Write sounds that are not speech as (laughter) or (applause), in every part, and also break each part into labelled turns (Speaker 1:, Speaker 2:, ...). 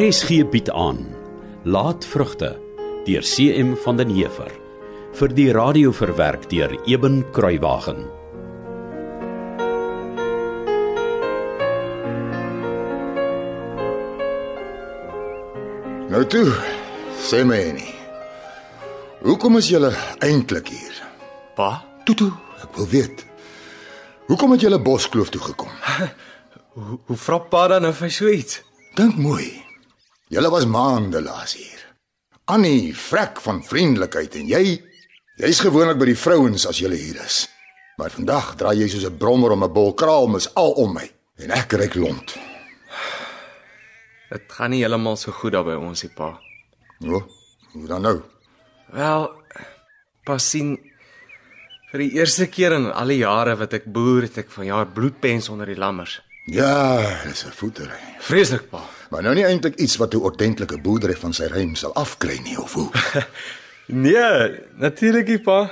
Speaker 1: RSG bied aan Laatvrugte deur CM van den Heever vir die radio verwerk deur Eben Kruiwagen.
Speaker 2: Nou toe, sê my nie. Hoekom is julle eintlik hier?
Speaker 3: Pa,
Speaker 2: Tutu, ek wil weet. Hoekom het julle Boskloof toe gekom?
Speaker 3: hoe, hoe vra pa dan of hy so iets?
Speaker 2: Dink mooi. Julle was maande laas hier. Annie vrek van vriendelikheid en jy, jy's gewoonlik by die vrouens as julle hier is. Maar vandag draai jy soos 'n brommer om 'n bol kraalmis al om my en ek ryk lont.
Speaker 3: Dit gaan nie heeltemal so goed daar by ons nie, pa.
Speaker 2: O, hoe dan nou?
Speaker 3: Wel, pa sien vir die eerste keer in al die jare wat ek boer, het ek vanjaar bloedpens onder die lammers.
Speaker 2: Ja, dis 'n voetery.
Speaker 3: Vreeslik, pa.
Speaker 2: Maar nou nie eintlik iets wat 'n ordentlike boerdery van sy reim sal afkry nie of hoe.
Speaker 3: Nee, natuurlik nie, pa.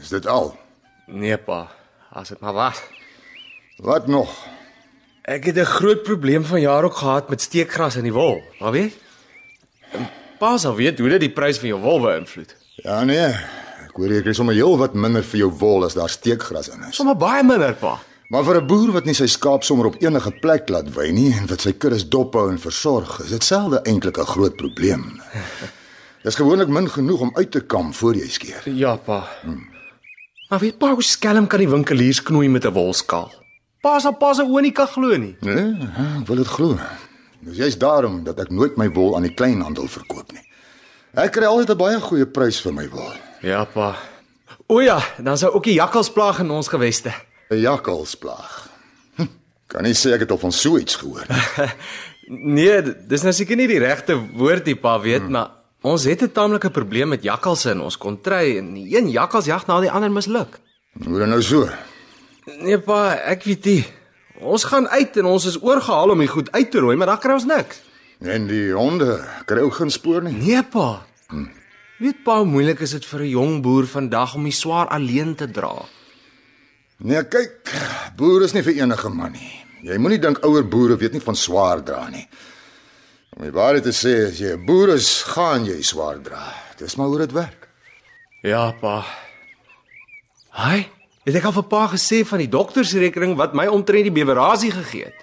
Speaker 2: Is dit al?
Speaker 3: Nee, pa. As dit maar was.
Speaker 2: Wat nog?
Speaker 3: Ek het 'n groot probleem vanjaar ook gehad met steekgras in die wol, maar weet? En Pa sal weet hoe dit die prys van jou wol beïnvloed.
Speaker 2: Ja nee, ek hoor jy kry sommer heel wat minder vir jou wol as daar steekgras in is.
Speaker 3: Sommige baie minder, pa.
Speaker 2: Maar vir 'n boer wat nie sy skaap sommer op enige plek laat wei nie en wat sy kuddes dophou en versorg, is dit selde eintlik 'n groot probleem. Dis gewoonlik min genoeg om uit te kam voor jy skeer.
Speaker 3: Ja, pa. Hmm. Maar weet pa hoe skelm kan die winkeliers knoei met 'n wolskaal? Pa sal pa se oë nie kan glo nie.
Speaker 2: Nee, ek wil dit glo. Dis juist daarom dat ek nooit my wol aan die kleinhandel verkoop nie. Ek kry altyd 'n baie goeie prys vir my wol.
Speaker 3: Ja, pa. O ja, dan sou ook die jakkals plaag in ons geweste.
Speaker 2: 'n Jakkalsplaag. Hm, Kan nie sê ek het al van so iets gehoor nie.
Speaker 3: Nee, d- dis nou seker nie die regte woord nie, pa, weet, hmm. maar ons het 'n taamlike probleem met jakkalse in ons kontry en die een jakkalsjag na die ander misluk.
Speaker 2: Hoe dan nou so?
Speaker 3: Nee, pa, ek weet nie. Ons gaan uit en ons is oorgehaal om die goed uit te rooi, maar dan kry ons niks.
Speaker 2: En die honde kry ook geen spoor nie.
Speaker 3: Nee pa. Weet pa hoe moeilik is dit vir 'n jong boer vandag om die swaar alleen te dra?
Speaker 2: Nee, kyk, boer is nie vir enige man nie. Jy moenie dink ouer boere weet nie van swaar dra nie. Om die waarheid te sê, as jy 'n boer is, gaan jy swaar dra. Dis maar hoe dit werk.
Speaker 3: Ja pa. Hi, het ek al vir pa gesê van die doktersrekening wat my omtrent die bewerasie gegee het?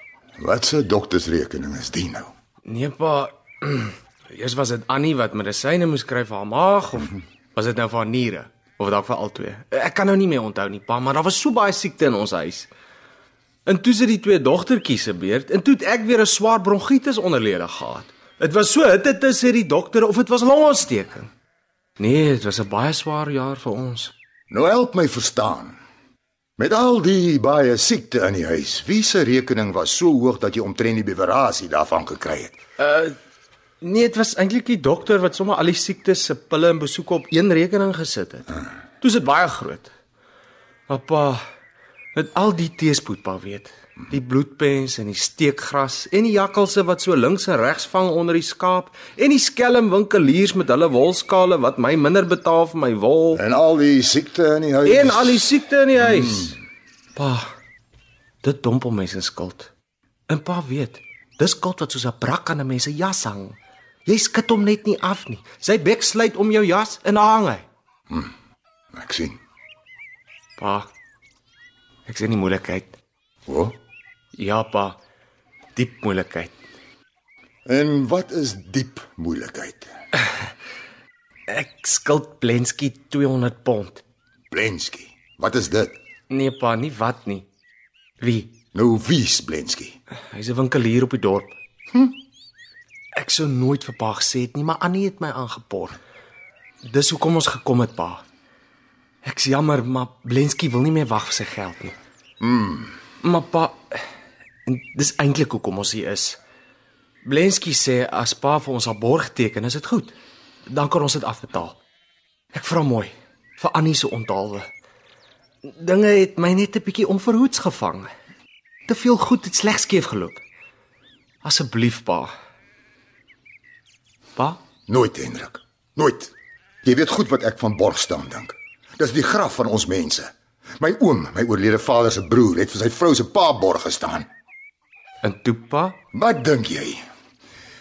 Speaker 2: Wat 'n doktersrekening is dit nou?
Speaker 3: Nee pa. (clears throat) Eers was dit Annie wat medisyne moes kry vir haar maag of was dit nou vir haar niere of dalk vir albei? Ek kan nou nie meer onthou nie pa, maar daar was so baie siekte in ons huis. En toe sit die twee dogtertjies se beurt en toe het ek weer 'n swaar bronkietis onderlede gehad. Dit was so hitte tussen die dokter of dit was longontsteking. Nee, dit was 'n baie swaar jaar vir ons.
Speaker 2: Nou help my verstaan. Met al die baie siekte in die huis, wie se rekening was so hoog dat jy omtrent die bewerasie daarvan gekry het?
Speaker 3: Nee, dit was eintlik die dokter wat sommer al die siektes se pille en besoeke op een rekening gesit het. Toe is dit baie groot. Maar pa, met al die teespoed pa weet, die bloedpens en die steekgras en die jakkalse wat so links en regs vang onder die skaap en die skelm winkeliers met hulle wolskale wat my minder betaal vir my wol
Speaker 2: En al die siekte in die huis.
Speaker 3: en al die siekte in die huis. Hmm. Pa, dit dompel mense skuld. En pa weet, dis skuld wat soos 'n brak aan 'n mens se jas hang. Jy skud hom net nie af nie. Sy bek sluit om jou jas en daar hang hy.
Speaker 2: Ek sien.
Speaker 3: Pa, ek sien die moeilikheid.
Speaker 2: O.
Speaker 3: Ja, pa. Diep moeilikheid.
Speaker 2: En wat is diep moeilikheid?
Speaker 3: Ek skuld Blensky 200 pond.
Speaker 2: Blensky. Wat is dit?
Speaker 3: Nee pa, nie wat nie. Wie?
Speaker 2: Nou wie's Blensky?
Speaker 3: Hy's 'n winkelier op die dorp. Hm? Ek sou nooit vir pa gesê het nie, maar Annie het my aangepor. Dis hoekom ons gekom het, pa. Ek's jammer, maar Blensky wil nie meer wag vir sy geld nie. Mm. Maar pa, en dis eintlik hoekom ons hier is. Blensky sê as pa vir ons 'n borg teken, is dit goed. Dan kan ons dit afbetaal. Ek vra mooi vir Annie se onthaalwe. Dinge het my net 'n bietjie onverhoeds gevang. Te veel goed het slegs skeef geloop. Asseblief, pa. Pa?
Speaker 2: Nooit, Hendrik. Nooit. Jy weet goed wat ek van Borgstaan dink. Dis die graf van ons mense. My oom, my oorlede vader se broer, het vir sy vrou se pa borg gestaan.
Speaker 3: En toe pa?
Speaker 2: Wat dink jy?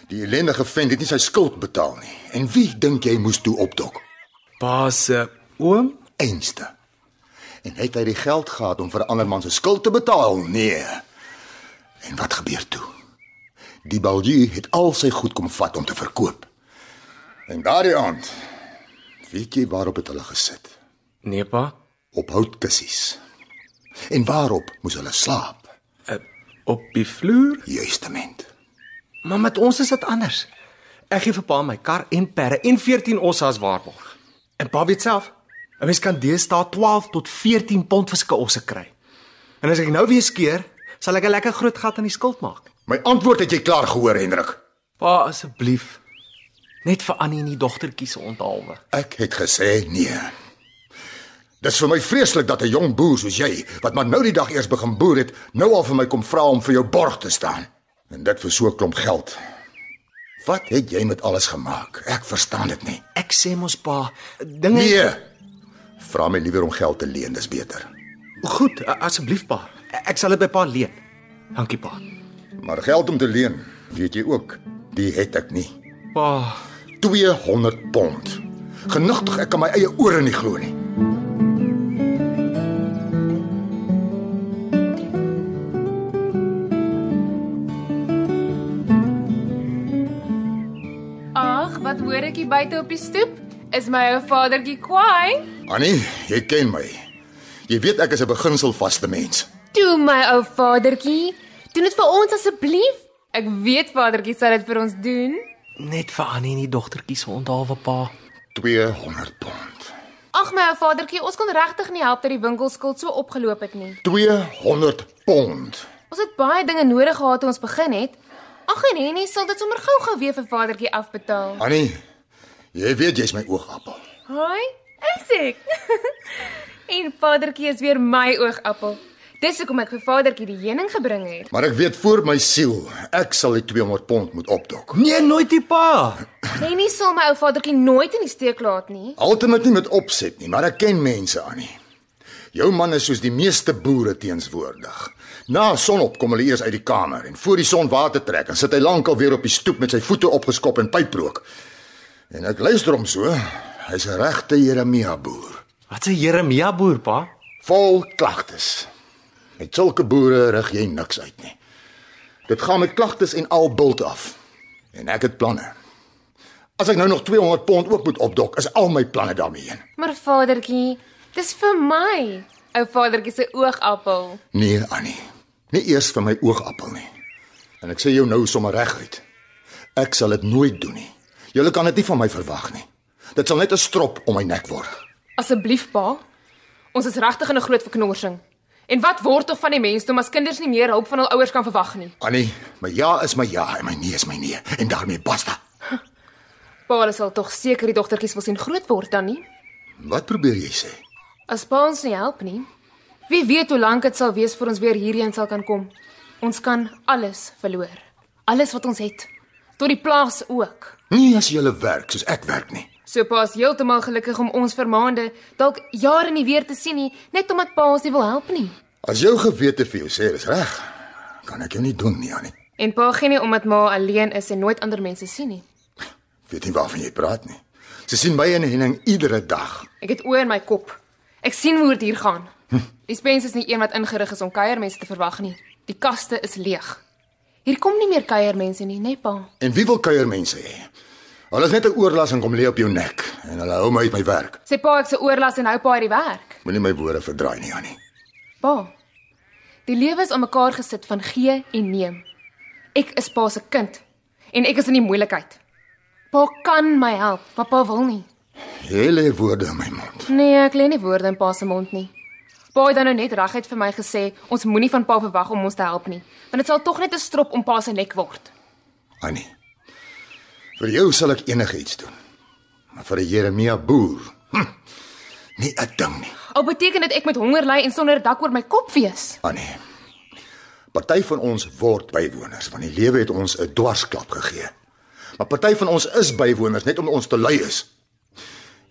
Speaker 2: Die ellendige vent het nie sy skuld betaal nie. En wie dink jy moes toe opdok?
Speaker 3: Pa se oom?
Speaker 2: Einste. En het hy die geld gehad om vir 'n ander man se skuld te betaal? Nee. En wat gebeur toe? Die Baldieu het al sy goed kom vat om te verkoop. En daardie aand, weet jy waarop het hulle gesit?
Speaker 3: Nee, pa.
Speaker 2: Op houtkussies. En waarop moes hulle slaap?
Speaker 3: Eh, Op die vloer?
Speaker 2: Juistement.
Speaker 3: Maar met ons is dit anders. Ek gee vir pa my kar en perde en 14 osse as waarborg. En pa weet self, 'n mens kan deesdae 12 tot 14 pond vir sulke osse kry. En as ek nou weer skeer, sal ek 'n lekker groot gat in die skuld maak.
Speaker 2: My antwoord het jy klaar gehoor, Hendrik.
Speaker 3: Pa, asseblief. Net vir Annie en die dogtertjie se onthaalwe.
Speaker 2: Ek het gesê nee. Dis vir my vreeslik dat 'n jong boer soos jy, wat maar nou die dag eers begin boer het, nou al vir my kom vra om vir jou borg te staan. En dit vir so 'n klomp geld. Wat het jy met alles gemaak? Ek verstaan dit nie.
Speaker 3: Ek sê mos pa, dinge
Speaker 2: Nee. Vra my liewer om geld te leen, dis beter.
Speaker 3: Goed, a- asseblief pa. Ek sal dit by pa leen. Dankie pa.
Speaker 2: Maar geld om te leen, weet jy ook, die het ek nie.
Speaker 3: Pa,
Speaker 2: 200 pond. Genigtig, ek kan my eie ore nie glo nie.
Speaker 4: Ag, wat hoor ek hier buite op die stoep? Is my ou vadertjie kwaai?
Speaker 2: Annie, jy ken my. Jy weet ek is 'n beginselvaste mens.
Speaker 4: Toe my ou vadertjie, doen dit vir ons asseblief. Ek weet vadertjie sal dit vir ons doen.
Speaker 3: net vir Annie en die dogtertjie se onthaalwe pa.
Speaker 2: 200 pond.
Speaker 4: Ag my ou vadertjie, ons kon regtig nie help dat die winkelskuld so opgeloop het nie.
Speaker 2: 200 pond.
Speaker 4: Ons het baie dinge nodig gehad toe ons begin het. Ag en Henny sal dit sommer gou-gou weer vir vadertjie afbetaal.
Speaker 2: Annie, jy weet jy's my oogappel.
Speaker 4: Haai, is ek. (laughs) en vadertjie is weer my oogappel. Dis hoekom ek vir vadertjie die heuning gebring het.
Speaker 2: Maar ek weet voor my siel, ek sal die 200 pond moet opdok.
Speaker 3: Nee, nooit die pa.
Speaker 4: Henny Nee, sal my ou vadertjie nooit in die steek laat nie.
Speaker 2: Alternatief nie met opset nie, maar ek ken mense, Annie. Jou man is soos die meeste boere teenswoordig. Na sonop kom hulle eers uit die kamer en voor die son water trek, dan sit hy lankal weer op die stoep met sy voete opgeskop en pyprook. En ek luister hom so. Hy's 'n regte Jeremia boer.
Speaker 3: Wat 'n Jeremia boer, pa?
Speaker 2: vol klagtes. Met sulke boere rig jy niks uit nie. Dit gaan met klagtes en al bult af. En ek het planne. As ek nou nog 200 pond ook moet opdok, is al my planne daarmee heen.
Speaker 4: Maar vadertjie, dis vir my. Ou vadertjie se oogappel.
Speaker 2: Nee, Annie. Nie eers vir my oogappel nie. En ek sê jou nou sommer reguit. Ek sal dit nooit doen nie. Julle kan dit nie van my verwag nie. Dit sal net 'n strop om my nek word.
Speaker 4: Asseblief pa. Ons is regtig in 'n groot verknorsing. En wat word tog van die mensdom as kinders nie meer hulp van hul ouers kan verwag nie?
Speaker 2: Annie, my ja is my ja en my nee is my nee en daarmee basta.
Speaker 4: Pa hulle sal tog seker die dogtertjies wil sien groot word dan nie.
Speaker 2: Wat probeer jy sê?
Speaker 4: As pa ons nie help nie, wie weet hoe lank dit sal wees voor ons weer hierheen sal kan kom. Ons kan alles verloor. Alles wat ons het. Tot die plaas ook.
Speaker 2: Nie as jy hulle werk soos ek werk nie.
Speaker 4: So pa is heeltemal gelukkig om ons vir maande, dalk jare nie weer te sien nie, net omdat pa ons nie wil help nie.
Speaker 2: As jou gewete vir jou sê dis reg, kan ek jou nie doen nie, Annie.
Speaker 4: En pa gee nie om dat ma alleen is en nooit ander mense sien nie.
Speaker 2: Weet nie waarvan jy praat nie. Sy sien my en Henning iedere dag.
Speaker 4: Ek het oë in my kop. Ek sien hoe dit hier gaan. Die spens is nie een wat ingerig is om kuiermense te verwag nie. Die kaste is leeg. Hier kom nie meer kuiermense nie, né pa?
Speaker 2: En wie wil kuier mense hê? Hulle is net 'n oorlas en kom lê op jou nek en hulle hou my uit my werk.
Speaker 4: Sê pa ek se oorlas en hou pa uit die werk.
Speaker 2: Moenie my woorde verdraai nie, Annie.
Speaker 4: Pa. Die lewe is aan mekaar gesit van gee en neem. Ek is pa se kind en ek is in die moeilikheid. Pa kan my help, maar pa wil nie.
Speaker 2: Jy lê woorde in my mond.
Speaker 4: Nee, ek lê nie woorde in pa se mond nie. Pa het dan nou net reguit vir my gesê, ons moenie van pa verwag om ons te help nie, want dit sal tog net 'n strop om pa se nek word.
Speaker 2: Annie. Vir jou sal ek enigiets doen. Maar vir 'n Jeremia boer, hm, nie 'n ding nie,
Speaker 4: Al beteken dit ek met honger ly en sonder 'n dak oor my kop wees.
Speaker 2: Annie. Ah, nee. Party van ons word bywoners want die lewe het ons 'n dwarsklap gegee. Maar party van ons is bywoners net omdat ons te lui is.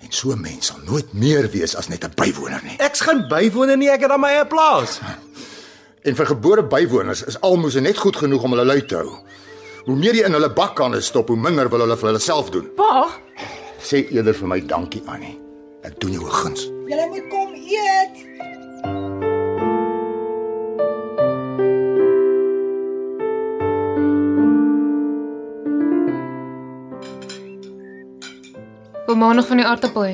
Speaker 2: En so 'n mens sal nooit meer wees as net 'n bywoner nie.
Speaker 3: Ek's gaan bywoon nie, ek het aan my eie plaas.
Speaker 2: En vir gebore bywoners is almoses net goed genoeg om hulle lui te hou. Hoe meer jy in hulle bakkanne stop, hoe minder wil hulle vir hulle self doen.
Speaker 4: Pa,
Speaker 2: Sê eerder vir my dankie, Annie. Ek doen jou 'n guns.
Speaker 5: Julle moet kom eet.
Speaker 4: wil ma nog van die aartappel hê?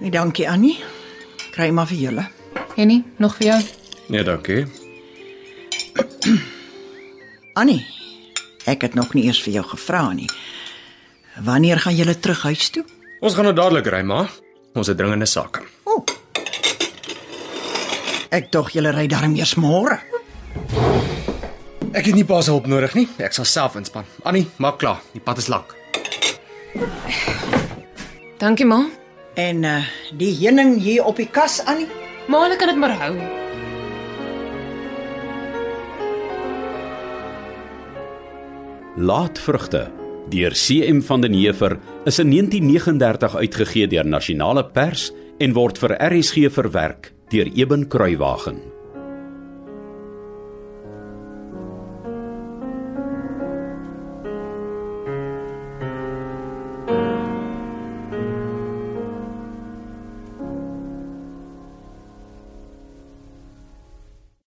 Speaker 5: Nee, dankie Annie. Kry maar vir julle.
Speaker 4: Henny, nog vir jou.
Speaker 3: Nee, dankie.
Speaker 5: Annie, ek het nog nie eers vir jou gevra nie. Wanneer gaan julle terug huis toe?
Speaker 3: Ons gaan nou dadelik ry, ma. Ons het dringende sake.
Speaker 5: O. Ek dog julle ry darm eers môre.
Speaker 3: Ek het nie pa se hulp nodig nie. Ek sal self inspan. Annie, maak klaar. Die pad is lank.
Speaker 4: Dankie ma.
Speaker 5: En uh die heuning hier op die kas Annie.
Speaker 4: Ma, hulle kan dit maar hou.
Speaker 1: Laatvrugte deur CM van den Heever is in 1939 uitgegee deur Nasionale Pers en word vir RSG verwerk deur Eben Kruiwagen.